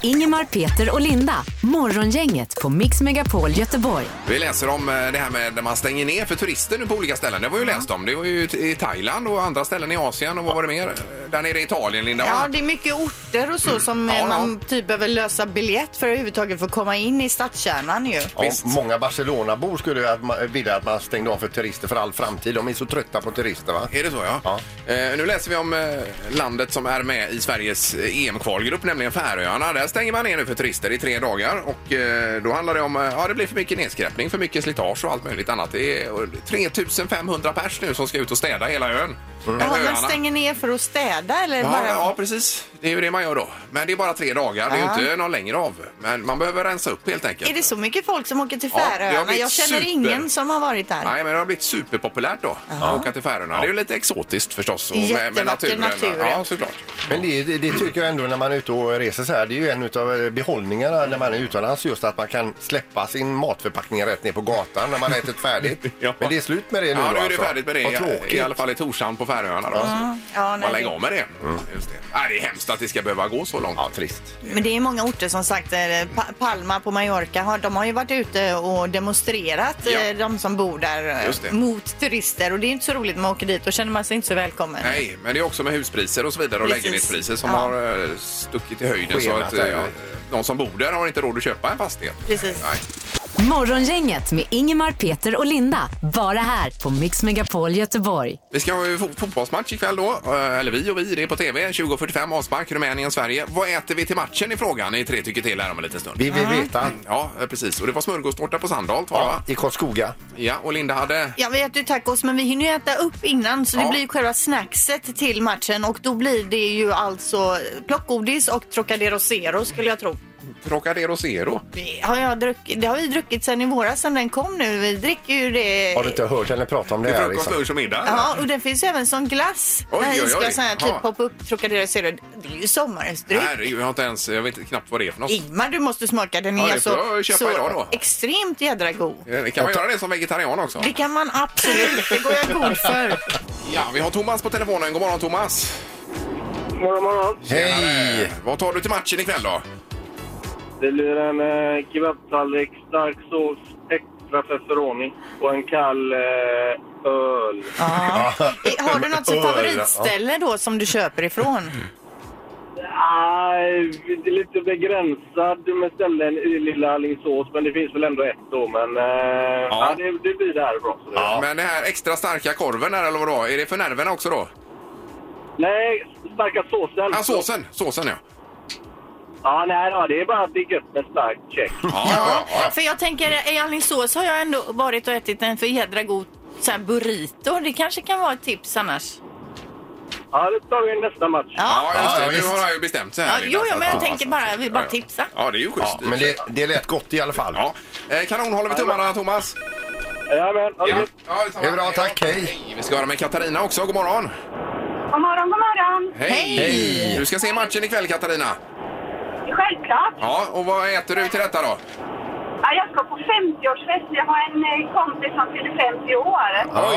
[SPEAKER 5] Ingemar, Peter och Linda. Morgongänget på Mix Megapol Göteborg.
[SPEAKER 1] Vi läser om eh, det här med när man stänger ner för turister nu på olika ställen. Det var ju läst om. Det var ju i Thailand och andra ställen i Asien och vad var det mer? Där nere i Italien, Linda.
[SPEAKER 3] Ja, det är mycket orter och så som eh, man typ behöver lösa biljett för att överhuvudtaget få komma in i stadskärnan ju.
[SPEAKER 2] Ja, många Barcelonabor skulle ju att man- vilja att man stängde av för turister för all framtid. De är så trötta på turister va?
[SPEAKER 1] Är det så ja? Eh, nu läser vi om eh, landet som är med i Sveriges eh, EM-kvalgrupp, nämligen Färöarna. Där stänger man ner nu för turister i tre dagar och eh, då handlar det om, eh, ja det blir för mycket nedskräpning, för mycket slitage och allt möjligt annat. Det är eh, 3500 pers nu som ska ut och städa hela ön. Eller
[SPEAKER 3] Ja, man
[SPEAKER 1] öarna.
[SPEAKER 3] stänger ner för att städa eller
[SPEAKER 1] Ja,
[SPEAKER 3] bara...
[SPEAKER 1] ja, precis. Det är ju det man gör då. Men det är bara tre dagar, det är ju
[SPEAKER 3] Ja.
[SPEAKER 1] inte någon längre av. Men man behöver rensa upp helt enkelt.
[SPEAKER 3] Är det så mycket folk som åker till
[SPEAKER 1] Ja, det har
[SPEAKER 3] Färöarna?
[SPEAKER 1] blivit
[SPEAKER 3] jag känner
[SPEAKER 1] super.
[SPEAKER 3] ingen som har varit där.
[SPEAKER 1] Nej, men det har blivit superpopulärt då att åka till Färöarna. Det är ju lite exotiskt förstås. Och med, med
[SPEAKER 3] Jättevacker
[SPEAKER 1] naturen.
[SPEAKER 3] natur.
[SPEAKER 1] Ja, såklart.
[SPEAKER 2] Men det, det, det tycker jag ändå när man är ute och reser så här. Det är ju en av behållningarna när man är utomlands just att man kan släppa sin matförpackning rätt ner på gatan när man har ätit färdigt. Men det är slut med det nu
[SPEAKER 1] Ja,
[SPEAKER 2] då,
[SPEAKER 1] nu är det
[SPEAKER 2] alltså.
[SPEAKER 1] färdigt med det.
[SPEAKER 2] Vad tråkigt.
[SPEAKER 1] I alla fall i Torshamn på Färöarna. Då.
[SPEAKER 3] Ja, ja,
[SPEAKER 1] Man
[SPEAKER 3] nej,
[SPEAKER 1] lägger
[SPEAKER 3] det-
[SPEAKER 1] av med det. Just det. Nej, det är hemskt att det ska behöva gå så långt. Ja,
[SPEAKER 2] trist.
[SPEAKER 3] Men det är många orter som sagt, eh, Pa- Palma på Mallorca, har- de har ju varit ute och demonstrerat, eh, de som bor där,
[SPEAKER 1] Just det.
[SPEAKER 3] eh, mot turister. Och det är inte så roligt när man åker dit, då känner man sig inte så välkommen.
[SPEAKER 1] Nej, men det är också med huspriser och så vidare och
[SPEAKER 3] Precis.
[SPEAKER 1] lägenhetspriser som
[SPEAKER 3] Ja.
[SPEAKER 1] har eh, stuckit i höjden. Så att,
[SPEAKER 2] Skenat,
[SPEAKER 1] eh,
[SPEAKER 2] ja.
[SPEAKER 1] de som bor där har inte råd att köpa en fastighet.
[SPEAKER 3] Precis.
[SPEAKER 1] Nej.
[SPEAKER 5] Morgongänget med Ingemar, Peter och Linda. Bara här på Mix Megapol Göteborg.
[SPEAKER 1] Vi ska ha ju fo- fotbollsmatch ikväll då. Eh, Eller vi och vi, det är på TV. 20.45 avspark, Rumänien-Sverige. Vad äter vi till matchen i frågan i Tre tycker till här om en liten stund.
[SPEAKER 2] Vi vill veta.
[SPEAKER 1] Ja, eh, precis. Och det var smörgåstårta på Sandholt var det, va?
[SPEAKER 2] I Karlskoga.
[SPEAKER 1] Ja, och Linda hade...
[SPEAKER 3] Ja, vi äter ju tacos, men vi hinner ju äta upp innan så det
[SPEAKER 1] Ja.
[SPEAKER 3] blir ju själva snackset till matchen och då blir det ju alltså plockgodis och Trocadero Zero skulle jag tro.
[SPEAKER 1] Trocadero Zero.
[SPEAKER 3] Det har, jag druckit, det har vi druckit sedan i våras, sedan den kom nu. Vi dricker ju det.
[SPEAKER 2] Har du inte hört henne prata om det
[SPEAKER 1] Till
[SPEAKER 2] här? liksom?
[SPEAKER 1] frukost, lunch och middag?
[SPEAKER 3] Ja, och den finns ju även som glass.
[SPEAKER 1] Oj,
[SPEAKER 3] Den
[SPEAKER 1] oj,
[SPEAKER 3] ska
[SPEAKER 1] oj.
[SPEAKER 3] sån här
[SPEAKER 1] Ja.
[SPEAKER 3] typ poppa upp Trocadero Zero. Det är ju sommarens dryck.
[SPEAKER 1] Herregud, jag har inte ens... Jag vet knappt vad det är för något.
[SPEAKER 3] Ingmar, du måste smaka. Den
[SPEAKER 1] Ja,
[SPEAKER 3] är
[SPEAKER 1] det får
[SPEAKER 3] så,
[SPEAKER 1] jag köpa
[SPEAKER 3] så
[SPEAKER 1] idag då.
[SPEAKER 3] extremt jädra god.
[SPEAKER 1] Eh, Kan man göra det som vegetarian också?
[SPEAKER 3] Det kan man absolut. Det går jag god för.
[SPEAKER 1] Ja, vi har Thomas på telefonen. God morgon Thomas!
[SPEAKER 9] Morgon, morgon.
[SPEAKER 2] Mm.
[SPEAKER 1] Hej! Vad tar du till matchen ikväll då?
[SPEAKER 9] Det blir en eh, kebabtallrik, stark sås, extra pepperoni och en kall eh, öl.
[SPEAKER 3] I- Har du något som
[SPEAKER 9] Öra,
[SPEAKER 3] favoritställe då som du köper ifrån?
[SPEAKER 9] Nej, det är lite begränsad med ställen i lilla Alingsås, men det finns väl ändå ett då. Men eh, ja. det, det blir därifrån. Så det-
[SPEAKER 1] Men det här extra starka korven här, eller vad det var, är det för nerverna också då?
[SPEAKER 9] Nej, starka såsen.
[SPEAKER 1] Ja, såsen. Såsen ja.
[SPEAKER 9] Ja, nej, ja, det är bara att det är gött med stark check.
[SPEAKER 3] För jag tänker, i Alingsås har jag ändå varit och ätit en för jädra god så här burrito. Det kanske kan vara ett tips annars.
[SPEAKER 9] Ja, det tar vi nästa match.
[SPEAKER 1] Ja, alltså. just det.
[SPEAKER 2] Ja,
[SPEAKER 1] nu
[SPEAKER 2] visst.
[SPEAKER 1] har han ju bestämt sig
[SPEAKER 3] Ja,
[SPEAKER 1] här. Linda,
[SPEAKER 3] jo,
[SPEAKER 1] så
[SPEAKER 3] jo,
[SPEAKER 1] att-
[SPEAKER 3] men jag
[SPEAKER 1] ja,
[SPEAKER 3] tänker bara, jag vill bara tipsa.
[SPEAKER 1] Ja, det är ju schysst.
[SPEAKER 2] men det, det lät gott i alla fall.
[SPEAKER 1] Ja. Eh, Kanon, håller vi tummarna Thomas.
[SPEAKER 9] Jajamän, ha det gött.
[SPEAKER 1] Ja, detsamma.
[SPEAKER 2] Det är bra, tack. Hej.
[SPEAKER 1] Vi ska höra med Katarina också. God morgon!
[SPEAKER 7] God morgon, god morgon.
[SPEAKER 1] Hej! Du ska se matchen ikväll Katarina.
[SPEAKER 7] Självklart.
[SPEAKER 1] Ja, och vad äter du till detta då?
[SPEAKER 7] Ja, jag ska på 50-årsfest. Jag har en eh, kompis som fyller 50 år.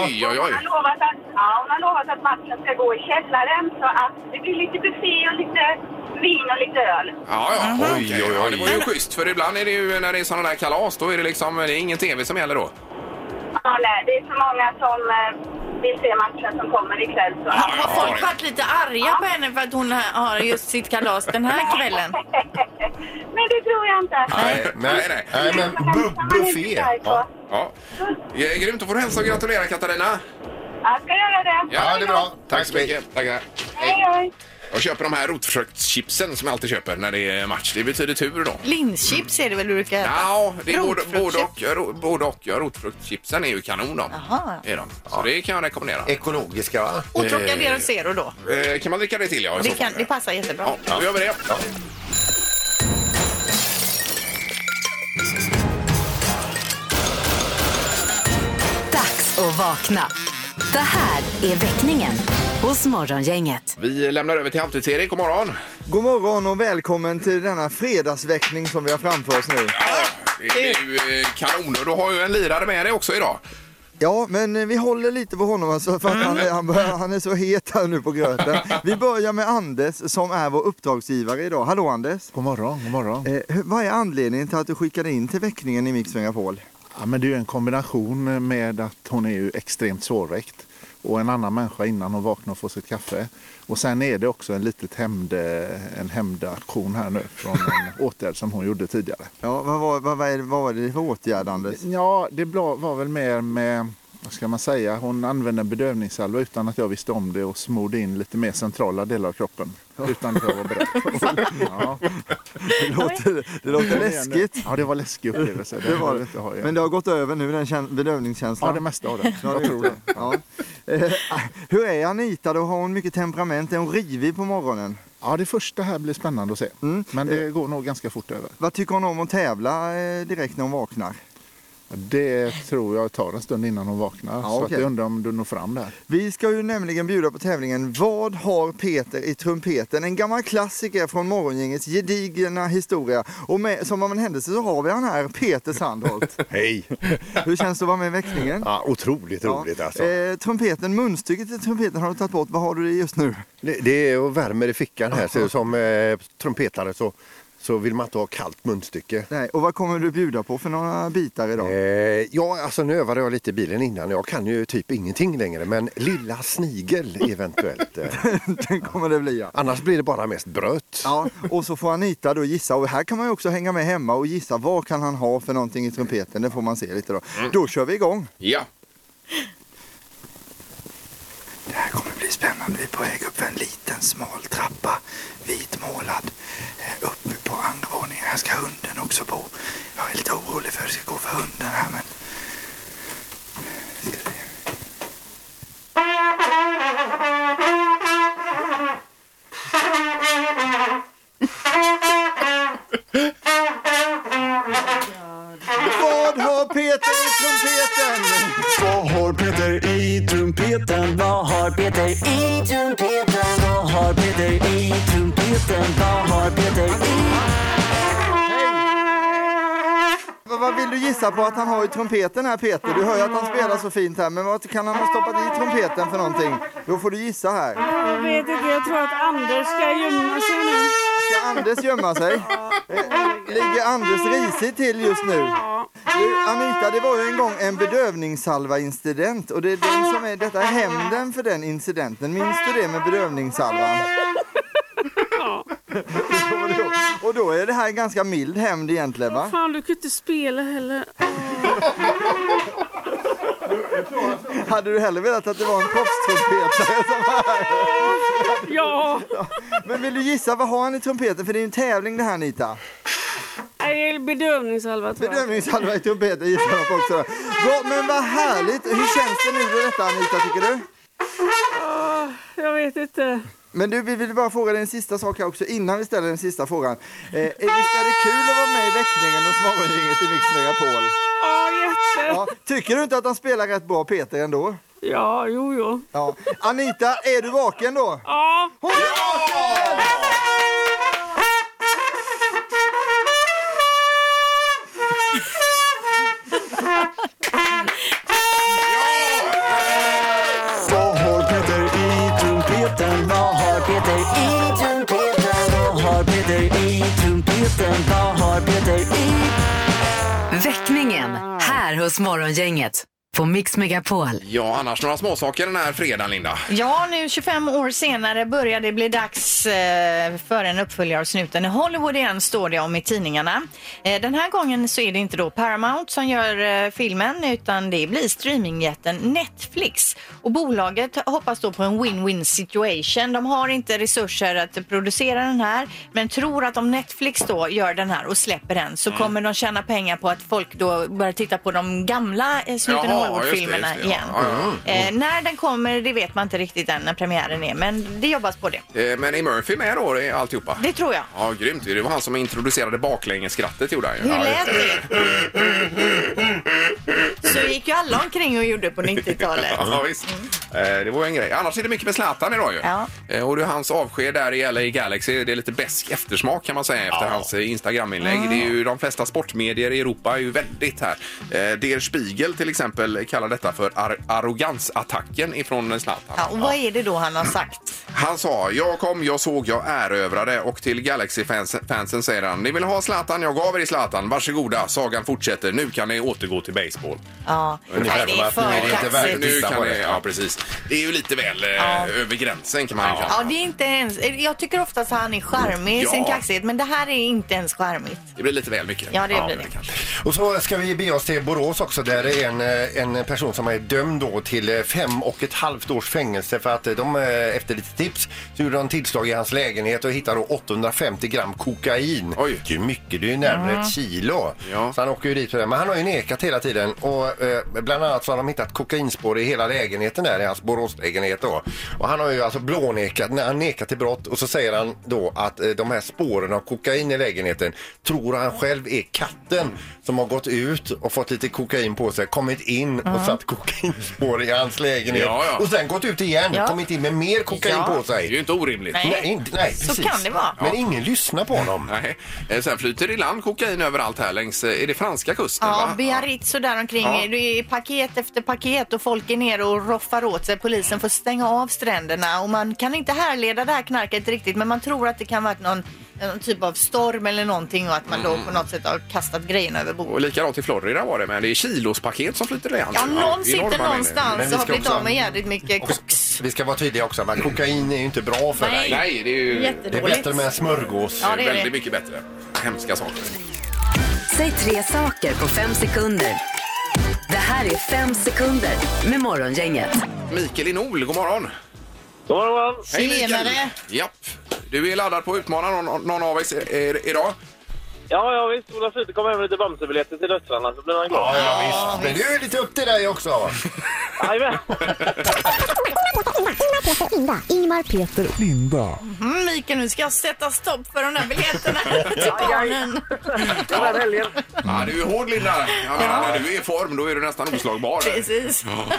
[SPEAKER 1] Oj, oj, oj.
[SPEAKER 7] Hon har, lovat att, ja, hon har lovat att matchen ska gå i källaren så att det blir lite buffé och lite vin och lite öl.
[SPEAKER 1] Ja, ja. Oj, oj, oj. Ja, det var ju schysst, för ibland är det ju när det är sådana där kalas, då är det liksom, det är ingen TV som gäller då.
[SPEAKER 7] Ja, nej, det är så många som eh, vill se matchen som kommer ikväll. Så.
[SPEAKER 3] Har, har folk varit lite arga på henne för att hon har just sitt kalas den här kvällen?
[SPEAKER 7] Men det tror jag inte.
[SPEAKER 2] Nej, nej, nej. nej men bu- buffé. Ja.
[SPEAKER 1] Ja. Eh, Grymt, då får du hälsa och gratulera Katarina.
[SPEAKER 7] Jag ska göra det.
[SPEAKER 2] ja, det är bra. Tack
[SPEAKER 1] så
[SPEAKER 2] så mycket.
[SPEAKER 1] mycket. Tackar.
[SPEAKER 7] Hej, hej.
[SPEAKER 1] Jag köper de här rotfruktschipsen som jag alltid köper när det är match. Det betyder tur då.
[SPEAKER 3] Linschips är det väl du brukar äta?
[SPEAKER 1] Ja, det är både,
[SPEAKER 3] Rotfruktschips.
[SPEAKER 1] både och. ro- Både och. Ja, rotfruktschipsen är ju kanon de.
[SPEAKER 3] Jaha.
[SPEAKER 1] Är de. Så det kan jag rekommendera.
[SPEAKER 2] Ekologiska, va?
[SPEAKER 3] Och Trocadero Zero då?
[SPEAKER 1] Eh, Kan man dricka det till ja? i
[SPEAKER 3] Det,
[SPEAKER 1] så fall?
[SPEAKER 3] kan, det passar jättebra.
[SPEAKER 1] Ja, då gör vi det.
[SPEAKER 5] Dags att vakna. Det här är väckningen hos Morgongänget.
[SPEAKER 1] Vi lämnar över till Halvtids-Erik. God morgon!
[SPEAKER 10] God morgon och välkommen till denna fredagsväckning som vi har framför oss nu.
[SPEAKER 1] Det är ju eh, kanon och du har ju en lirare med dig också idag.
[SPEAKER 10] Ja, men eh, vi håller lite på honom alltså, för att han, är- han, börjar, han är så het här nu på gröten. Vi börjar med Anders som är vår uppdragsgivare idag. Hallå Anders!
[SPEAKER 11] God morgon, god morgon.
[SPEAKER 10] Eh, hur- vad är anledningen till att du skickade in till väckningen i Mix Megapol?
[SPEAKER 11] Ja, men det är ju en kombination med att hon är ju extremt svårväckt och en annan människa innan hon vaknar och får sitt kaffe. Och sen är det också en litet hämnd, eh, en hämndaktion här nu från en åtgärd som hon gjorde tidigare.
[SPEAKER 10] Ja, vad, var, vad, vad, är- vad var det för åtgärd Anders?
[SPEAKER 11] Ja, det bla- var väl mer med, vad ska man säga, hon använde en bedövningssalva utan att jag visste om det och smorde in lite mer centrala delar av kroppen utan att jag var beredd. Ja.
[SPEAKER 10] Det låter, det låter läskigt.
[SPEAKER 11] Ja, det var läskig upplevelse.
[SPEAKER 10] Det var
[SPEAKER 11] vill
[SPEAKER 10] det.
[SPEAKER 11] jag inte ha igen.
[SPEAKER 10] Men det har gått över nu, den kän- bedövningskänslan?
[SPEAKER 11] Ja, det mesta av det.
[SPEAKER 10] Ja,
[SPEAKER 11] Jag tror
[SPEAKER 10] gjort Ja. Eh, Hur är Anita då? Har hon mycket temperament? Är hon rivig på morgonen? Mm. Eh,
[SPEAKER 11] Ja, det första här blir spännande att se. Men det går nog ganska fort över.
[SPEAKER 10] Vad tycker hon om att tävla eh, direkt när hon vaknar?
[SPEAKER 11] Det tror jag tar en stund innan hon vaknar.
[SPEAKER 10] Ja,
[SPEAKER 11] så
[SPEAKER 10] okej.
[SPEAKER 11] att jag undrar om du når fram där.
[SPEAKER 10] Vi ska ju nämligen bjuda på tävlingen Vad har Peter i trumpeten? En gammal klassiker från morgongängets gedigna historia. Och med, som av en händelse så har vi han här, Peter Sandholt.
[SPEAKER 12] Hej!
[SPEAKER 10] Hur känns det att vara med i väckningen?
[SPEAKER 12] Ja, otroligt roligt alltså.
[SPEAKER 10] Eh, trumpeten, munstycket i trumpeten har du tagit bort. Vad har du i just nu?
[SPEAKER 12] Det, det är och värmer i fickan här. Så som eh, trumpetare så, så vill man inte ha kallt munstycke.
[SPEAKER 10] Nej, och vad kommer du bjuda på för några bitar idag?
[SPEAKER 12] Eh, ja, alltså nu övade jag lite i bilen innan. Jag kan ju typ ingenting längre. Men lilla snigel eventuellt. Eh.
[SPEAKER 10] Den kommer det bli ja.
[SPEAKER 12] Annars blir det bara mest bröt.
[SPEAKER 10] Ja, och så får Anita då gissa. Och här kan man ju också hänga med hemma och gissa vad kan han ha för någonting i trumpeten. Det får man se lite då. Då kör vi igång.
[SPEAKER 1] Ja.
[SPEAKER 10] Det här kommer bli spännande. Vi är på väg upp för en liten smal trappa. Vitmålad. Eh, Uppe på andra våningen. Här ska hunden också bo. Jag är lite orolig för hur det ska gå för hunden här men...
[SPEAKER 13] Vad har Peter i trumpeten? Vad har Peter i trumpeten? Vad har Peter i trumpeten? Vad har Peter i trumpeten? Vad har Peter i...
[SPEAKER 10] Vad- Vad vill du gissa på att han har i trumpeten här Peter? Du hör ju att han spelar så fint här men vad kan han ha stoppat i trumpeten för någonting? Då får du gissa här.
[SPEAKER 14] Jag vet inte, jag tror att Anders ska gömma sig nu.
[SPEAKER 10] Ska Anders gömma sig? Eh, Ligger Anders risigt till just nu? Du, Anita, det var ju en gång en bedövningssalva-incident och det är den som är, detta är hämnden för den incidenten. Minns du det med bedövningssalvan? och då är det här en ganska mild hämnd egentligen va?
[SPEAKER 14] Fan, du kan ju inte spela heller.
[SPEAKER 10] Hade du hellre velat att det var en proffstrumpetare som var här?
[SPEAKER 14] Ja.
[SPEAKER 10] Men vill du gissa, vad har han i trumpeten? För det är ju en tävling det här Anita.
[SPEAKER 14] Nej, bedövningssalva tror jag.
[SPEAKER 10] Bedövningshalva i trumpeten gissar jag på också. Ja, men vad härligt! Hur känns det nu då detta Anita, tycker du?
[SPEAKER 14] Ah, jag vet inte.
[SPEAKER 10] Men du, vi vill bara fråga dig en sista sak här också innan vi ställer den sista frågan. Eh, är- visst är det kul att vara med i väckningen hos Morgongänget i Mix Megapol?
[SPEAKER 14] Ja, jätte.
[SPEAKER 10] Ja, tycker du inte att han spelar rätt bra Peter ändå?
[SPEAKER 14] Ja, jo, jo.
[SPEAKER 10] Ja. Anita, är du vaken då?
[SPEAKER 14] Ja.
[SPEAKER 10] Hon är vaken!
[SPEAKER 13] Vad har Peter i trumpeten? Vad har Peter i trumpeten? Vad har Peter i trumpeten? Vad har Peter i...
[SPEAKER 5] Väckningen här hos Morgongänget på Mix Megapol.
[SPEAKER 1] Ja, annars några småsaker den här fredagen, Linda. Eh,
[SPEAKER 3] Ja, nu 25 år senare börjar det bli dags eh, för en uppföljare av Snuten i Hollywood igen, står det om i tidningarna. Eh, Den här gången så är det inte då Paramount som gör eh, filmen utan det blir streamingjätten Netflix. Och bolaget hoppas då på en win-win situation. De har inte resurser att producera den här men tror att om Netflix då gör den här och släpper den
[SPEAKER 1] Mm.
[SPEAKER 3] så kommer de tjäna pengar på att folk då börjar titta på de gamla eh, Snuten i
[SPEAKER 1] Jaha,
[SPEAKER 3] Hollywood-filmerna
[SPEAKER 1] just det, just det, ja.
[SPEAKER 3] igen.
[SPEAKER 1] Ja, ja, ja.
[SPEAKER 3] Eh, när den kommer det vet man inte riktigt än när premiären är, men det jobbas på det.
[SPEAKER 1] Eh, Men är Murphy med då i alltihopa?
[SPEAKER 3] Det tror jag.
[SPEAKER 1] Ja, grymt. Det var han som introducerade baklängesskrattet gjorde han ju.
[SPEAKER 3] Hur lät det? så gick ju alla omkring och gjorde på 90-talet.
[SPEAKER 1] Ja, visst. Eh, Det var ju en grej. Annars är det mycket med Zlatan idag ju.
[SPEAKER 3] Mm. Ja.
[SPEAKER 1] Eh, Och det är hans avsked där i LA Galaxy, det är lite besk eftersmak kan man säga efter hans eh, Instagram-inlägg.
[SPEAKER 3] Mm.
[SPEAKER 1] Det är ju de flesta sportmedier i Europa är ju väldigt här. Eh, Der Spiegel till exempel kallar detta för ar- arrogansattacken ifrån Zlatan.
[SPEAKER 3] Ja, och vad är det då han har sagt?
[SPEAKER 1] Han sa “Jag kom, jag såg, jag erövrade” och till Galaxy-fansen säger han “Ni vill ha Zlatan, jag gav er Zlatan, varsågoda, sagan fortsätter, nu kan ni återgå till baseball.
[SPEAKER 3] Ja, nej,
[SPEAKER 1] Ungefär
[SPEAKER 3] det
[SPEAKER 1] som
[SPEAKER 3] är
[SPEAKER 1] att
[SPEAKER 3] för
[SPEAKER 1] nu är det inte värt nu
[SPEAKER 3] kaxigt.
[SPEAKER 1] kan det, ja, precis. det är ju lite väl eh, över gränsen kan man ju
[SPEAKER 3] Ja,
[SPEAKER 1] kalla
[SPEAKER 3] det är inte ens... Jag tycker oftast att han är charmig i sin
[SPEAKER 1] Ja.
[SPEAKER 3] kaxighet, men det här är inte ens charmigt.
[SPEAKER 1] det. Det blir lite väl mycket.
[SPEAKER 3] Ja, det blir det.
[SPEAKER 2] Och så ska vi bege oss till Borås också där det är en, eh, en person som är dömd då till eh, fem och ett halvt års fängelse för att eh, de eh, efter lite tips så gjorde de tillslag i hans lägenhet och hittade då 850 gram kokain. Oj. Det är ju mycket, det är ju närmare
[SPEAKER 12] Mm.
[SPEAKER 2] ett kilo. Så han åker ju dit för det. Men han har ju nekat hela tiden och eh, bland annat så har de hittat kokainspår i hela lägenheten där i hans Boråslägenhet då. Och han har ju alltså blånekat, när han nekat till brott och så säger han då att eh, de här spåren av kokain i lägenheten tror han själv är katten som har gått ut och fått lite kokain på sig, kommit in och
[SPEAKER 12] Ja.
[SPEAKER 2] satt kokainspår i hans lägenhet
[SPEAKER 12] Ja, ja.
[SPEAKER 2] och sen gått ut igen,
[SPEAKER 12] Ja.
[SPEAKER 2] kommit in med mer kokain
[SPEAKER 12] Ja.
[SPEAKER 2] på sig. Det är
[SPEAKER 1] ju inte orimligt.
[SPEAKER 2] Nej, nej, inte- nej
[SPEAKER 3] Så
[SPEAKER 2] precis.
[SPEAKER 3] kan det vara.
[SPEAKER 2] Men ingen lyssnar på honom.
[SPEAKER 1] Nej. Eh, Sen flyter i land kokain överallt här längs, eh, är det franska kusten?
[SPEAKER 3] Ja,
[SPEAKER 1] va?
[SPEAKER 3] Biarritz och där omkring.
[SPEAKER 1] Ja.
[SPEAKER 3] Det är paket efter paket och folk är nere och roffar åt sig. Polisen får stänga av stränderna och man kan inte härleda det här knarket riktigt men man tror att det kan vara någon, någon typ av storm eller någonting och att man då
[SPEAKER 1] Mm.
[SPEAKER 3] på något sätt har kastat grejerna över bord.
[SPEAKER 1] Och likadant i Florida var det, men det är kilospaket som flyter i land.
[SPEAKER 3] Ja, någon
[SPEAKER 1] i
[SPEAKER 3] sitter
[SPEAKER 1] enorma mängder.
[SPEAKER 3] någonstans och har blivit av med jävligt mycket
[SPEAKER 2] Vi ska vara tydliga också, men kokain är ju inte bra för
[SPEAKER 3] Nej.
[SPEAKER 2] dig.
[SPEAKER 3] Nej, det är ju-
[SPEAKER 2] det är
[SPEAKER 3] Jättedåligt.
[SPEAKER 2] bättre med en smörgås.
[SPEAKER 3] Ja, det är det.
[SPEAKER 1] Väldigt mycket bättre. Hemska saker.
[SPEAKER 5] Säg tre saker på fem sekunder. Det här är fem sekunder med Morgongänget.
[SPEAKER 1] Mikael i Nol, god morgon! God morgon!
[SPEAKER 3] Tjenare.
[SPEAKER 1] Japp! Du är laddad på att utmana någon, någon av oss i- i- idag?
[SPEAKER 9] Ja, ja visst. Ola Fryde kommer hem med lite Bamsebiljetter till döttrarna så blir han glad.
[SPEAKER 2] Ja, visst. Men du är lite upp till dig också.
[SPEAKER 9] Jajamän.
[SPEAKER 15] Linda, Ingmar, Peter, Linda.
[SPEAKER 3] Mm, Mikael, nu ska jag sätta stopp för de där biljetterna till barnen.
[SPEAKER 1] Ja, du är hård Linda! Jag menar, när du är i form då är du nästan oslagbar.
[SPEAKER 3] Precis.
[SPEAKER 1] Ja.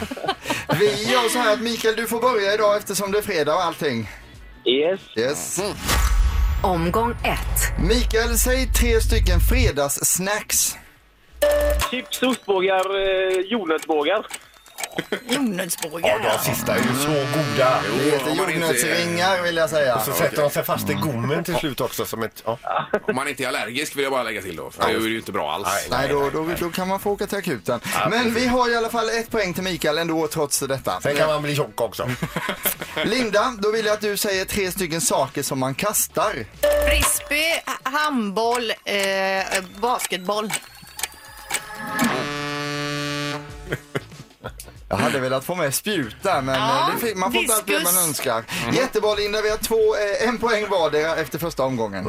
[SPEAKER 10] Vi gör så här att Mikael du får börja idag eftersom det är fredag och allting.
[SPEAKER 9] Yes.
[SPEAKER 10] Yes.
[SPEAKER 5] Omgång ett.
[SPEAKER 10] Mikael, säg tre stycken fredagssnacks.
[SPEAKER 9] Chips, ostbågar, eh, jordnötsbågar.
[SPEAKER 3] Jordnötsbågar?
[SPEAKER 2] Ja, de sista är ju så goda.
[SPEAKER 10] Det heter jordnötsringar vill jag säga.
[SPEAKER 2] Och så sätter de sig fast i gommen till slut också. Som ett, Mm. ja.
[SPEAKER 1] Om man inte är allergisk vill jag bara lägga till då, för det är ju inte bra alls.
[SPEAKER 10] Nej, då, då, då kan man få åka till akuten. Men vi har i alla fall ett poäng till Mikael ändå trots detta.
[SPEAKER 2] Sen kan man bli tjock också.
[SPEAKER 10] Linda, då vill jag att du säger tre stycken saker som man kastar.
[SPEAKER 3] Frisbee, handboll, eh, basketboll.
[SPEAKER 10] Jag hade velat få med spjut där men
[SPEAKER 3] Ja,
[SPEAKER 10] eh, det fick, man får inte allt det
[SPEAKER 3] diskus.
[SPEAKER 10] man önskar. Jättebra Linda, vi har två, eh, en poäng vardera efter första omgången.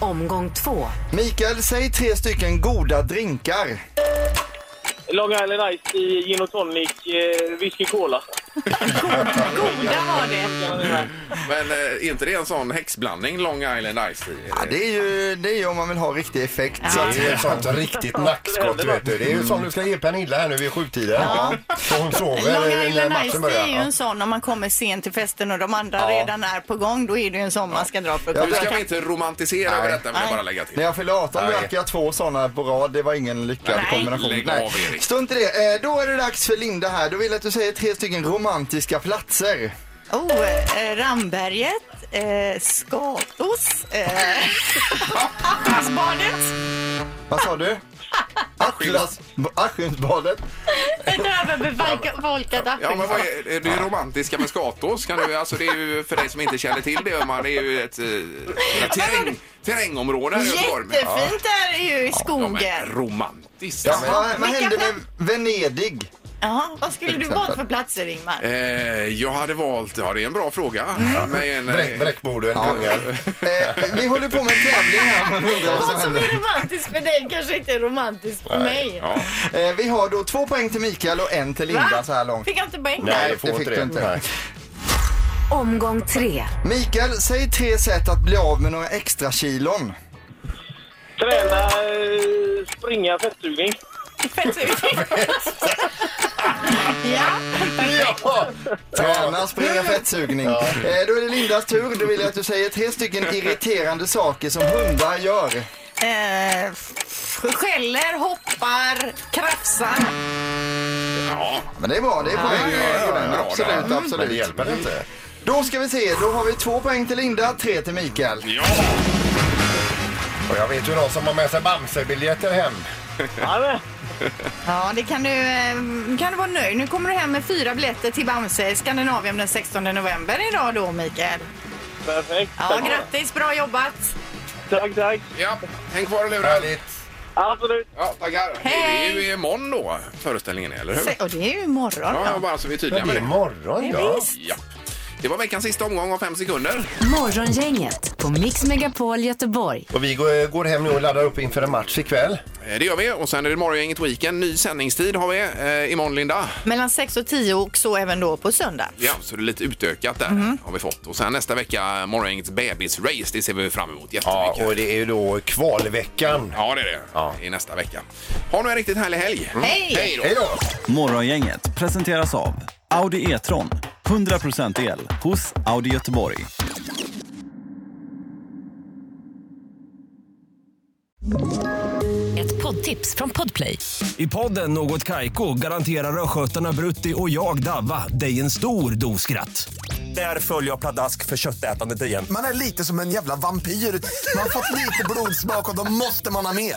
[SPEAKER 5] Omgång två.
[SPEAKER 10] Mikael, säg tre stycken goda drinkar.
[SPEAKER 9] Long Island Ice i gin och tonic, eh, whisky cola.
[SPEAKER 3] Goda var det.
[SPEAKER 1] Men eh, är inte det en sån häxblandning, Long Island Ice Tea?
[SPEAKER 10] Ja, det är ju det är ju om man vill ha riktig effekt.
[SPEAKER 2] Det är ju ett sånt riktigt nackskott. du Vet du. Det är ju sån du ska ge Pernilla här nu vid sjutiden.
[SPEAKER 3] Ja.
[SPEAKER 2] Så hon
[SPEAKER 3] Long
[SPEAKER 2] sover när
[SPEAKER 3] Island Ice
[SPEAKER 2] matchen
[SPEAKER 3] det är ju
[SPEAKER 2] börjar.
[SPEAKER 3] en sån om man kommer sent till festen och de andra redan är på gång. Då är det ju en sån man ska dra för
[SPEAKER 1] Nu ska vi inte romantisera över detta, vill jag bara lägga till.
[SPEAKER 10] När jag fyllde 18 drack jag två sådana på rad. Det var ingen lyckad
[SPEAKER 1] Nej.
[SPEAKER 10] kombination.
[SPEAKER 1] Lägg av, Erik.
[SPEAKER 10] Strunt i det. Eh, Då är det dags för Linda här. Då vill jag att du säger tre stycken romantiska platser.
[SPEAKER 3] Oh, eh, Ramberget, eh, Skatos, eh, Atlasbadet,
[SPEAKER 10] Vad sa du? Atlas... Askinsbadet?
[SPEAKER 4] Ett överbefolkat
[SPEAKER 1] Ja, men vad är, är det romantiska med Skatås? Kan du, alltså, det är ju för dig som inte känner till det, man, det är ju ett, eh, ett terräng, terrängområde här i Göteborg. men-
[SPEAKER 3] Jättefint där är ju i
[SPEAKER 1] Ja,
[SPEAKER 3] skogen.
[SPEAKER 1] men romantiskt.
[SPEAKER 10] Ja, vad, vad hände med Venedig?
[SPEAKER 3] Ja, vad skulle
[SPEAKER 1] Till
[SPEAKER 3] du
[SPEAKER 1] exempel.
[SPEAKER 3] valt för platser Ingmar?
[SPEAKER 1] Eh, jag hade valt, ja det är en bra fråga.
[SPEAKER 10] Mm.
[SPEAKER 1] Men, eh,
[SPEAKER 2] Bräck- Bräckboden, kungar.
[SPEAKER 7] Eh,
[SPEAKER 10] Vi håller på med en tävling här. Man undrar vad som
[SPEAKER 4] Vad som
[SPEAKER 10] händer.
[SPEAKER 4] är romantiskt för dig kanske inte är romantiskt för mig.
[SPEAKER 10] Eh, Vi har då två poäng till Mikael och en till Linda
[SPEAKER 4] Va?
[SPEAKER 10] så här långt.
[SPEAKER 4] Fick jag inte poäng?
[SPEAKER 10] det fick du inte.
[SPEAKER 5] Omgång tre.
[SPEAKER 10] Mikael, säg tre sätt att bli av med några extra kilon.
[SPEAKER 9] Träna, eh, springa, fettsugning.
[SPEAKER 16] Fettsugning.
[SPEAKER 2] Ja!
[SPEAKER 7] Träna, springa, fettsugning. Eh, Då är det Lindas tur. Då vill jag att du säger tre stycken irriterande saker som hundar gör.
[SPEAKER 3] Eh, skäller, hoppar, krafsar.
[SPEAKER 1] Ja.
[SPEAKER 7] Men det är bra, det är poäng.
[SPEAKER 2] ja,
[SPEAKER 7] på den.
[SPEAKER 2] bra
[SPEAKER 7] absolut,
[SPEAKER 2] där. Mm.
[SPEAKER 7] absolut.
[SPEAKER 2] Men det hjälper inte.
[SPEAKER 7] Då ska vi se, då har vi två poäng till Linda, tre till Mikael.
[SPEAKER 2] Och jag vet ju någon som har med sig Bamse-biljetter hem.
[SPEAKER 3] Ja, det kan du, eh, kan du vara nöjd. Nu kommer du hem med fyra biljetter till Bamse i Skandinavien den 16 november idag då, Mikael.
[SPEAKER 9] Perfekt.
[SPEAKER 3] Ja, grattis. Bra jobbat.
[SPEAKER 9] Tack, tack.
[SPEAKER 1] Ja, häng kvar i luren.
[SPEAKER 2] Härligt.
[SPEAKER 9] Absolut.
[SPEAKER 1] Ja, tackar. Det är ju imorgon då, föreställningen är, eller hur?
[SPEAKER 3] Se- Och det är ju imorgon.
[SPEAKER 1] Ja, ja, bara så vi är tydliga
[SPEAKER 2] Ja,
[SPEAKER 1] med
[SPEAKER 2] det
[SPEAKER 1] det.
[SPEAKER 2] är imorgon,
[SPEAKER 3] ja. Ja, visst.
[SPEAKER 1] ja. Det var veckans sista omgång om fem sekunder.
[SPEAKER 5] Morgongänget på Mix Megapol Göteborg.
[SPEAKER 2] Och vi går, går hem nu och laddar upp inför en match ikväll.
[SPEAKER 1] Eh, Det gör vi. Och sen är det Morgongänget Weekend. Ny sändningstid har vi eh, imorgon, Linda.
[SPEAKER 3] Mellan 6 och 10 och så även då på söndag.
[SPEAKER 1] Ja, så det är lite utökat där har vi fått. Och sen nästa vecka Morgongängets bebisrace. Det ser vi fram emot jättemycket.
[SPEAKER 2] Ja, och det är ju då kvalveckan.
[SPEAKER 1] Ja, det är det. I nästa vecka. Ha nu en riktigt härlig helg.
[SPEAKER 3] Hej!
[SPEAKER 1] Hej då!
[SPEAKER 2] Hej då!
[SPEAKER 17] Morgongänget presenteras av Audi E-tron. 100% el hos Audi Göteborg.
[SPEAKER 18] Ett poddtips från Podplay.
[SPEAKER 19] I podden Något Kaiko garanterar östgötarna Brutti och jag, Davva, dig en stor dos skratt. Där följer jag pladask för köttätandet igen.
[SPEAKER 10] Man är lite som en jävla vampyr. Man har fått lite blodsmak och då måste man ha mer.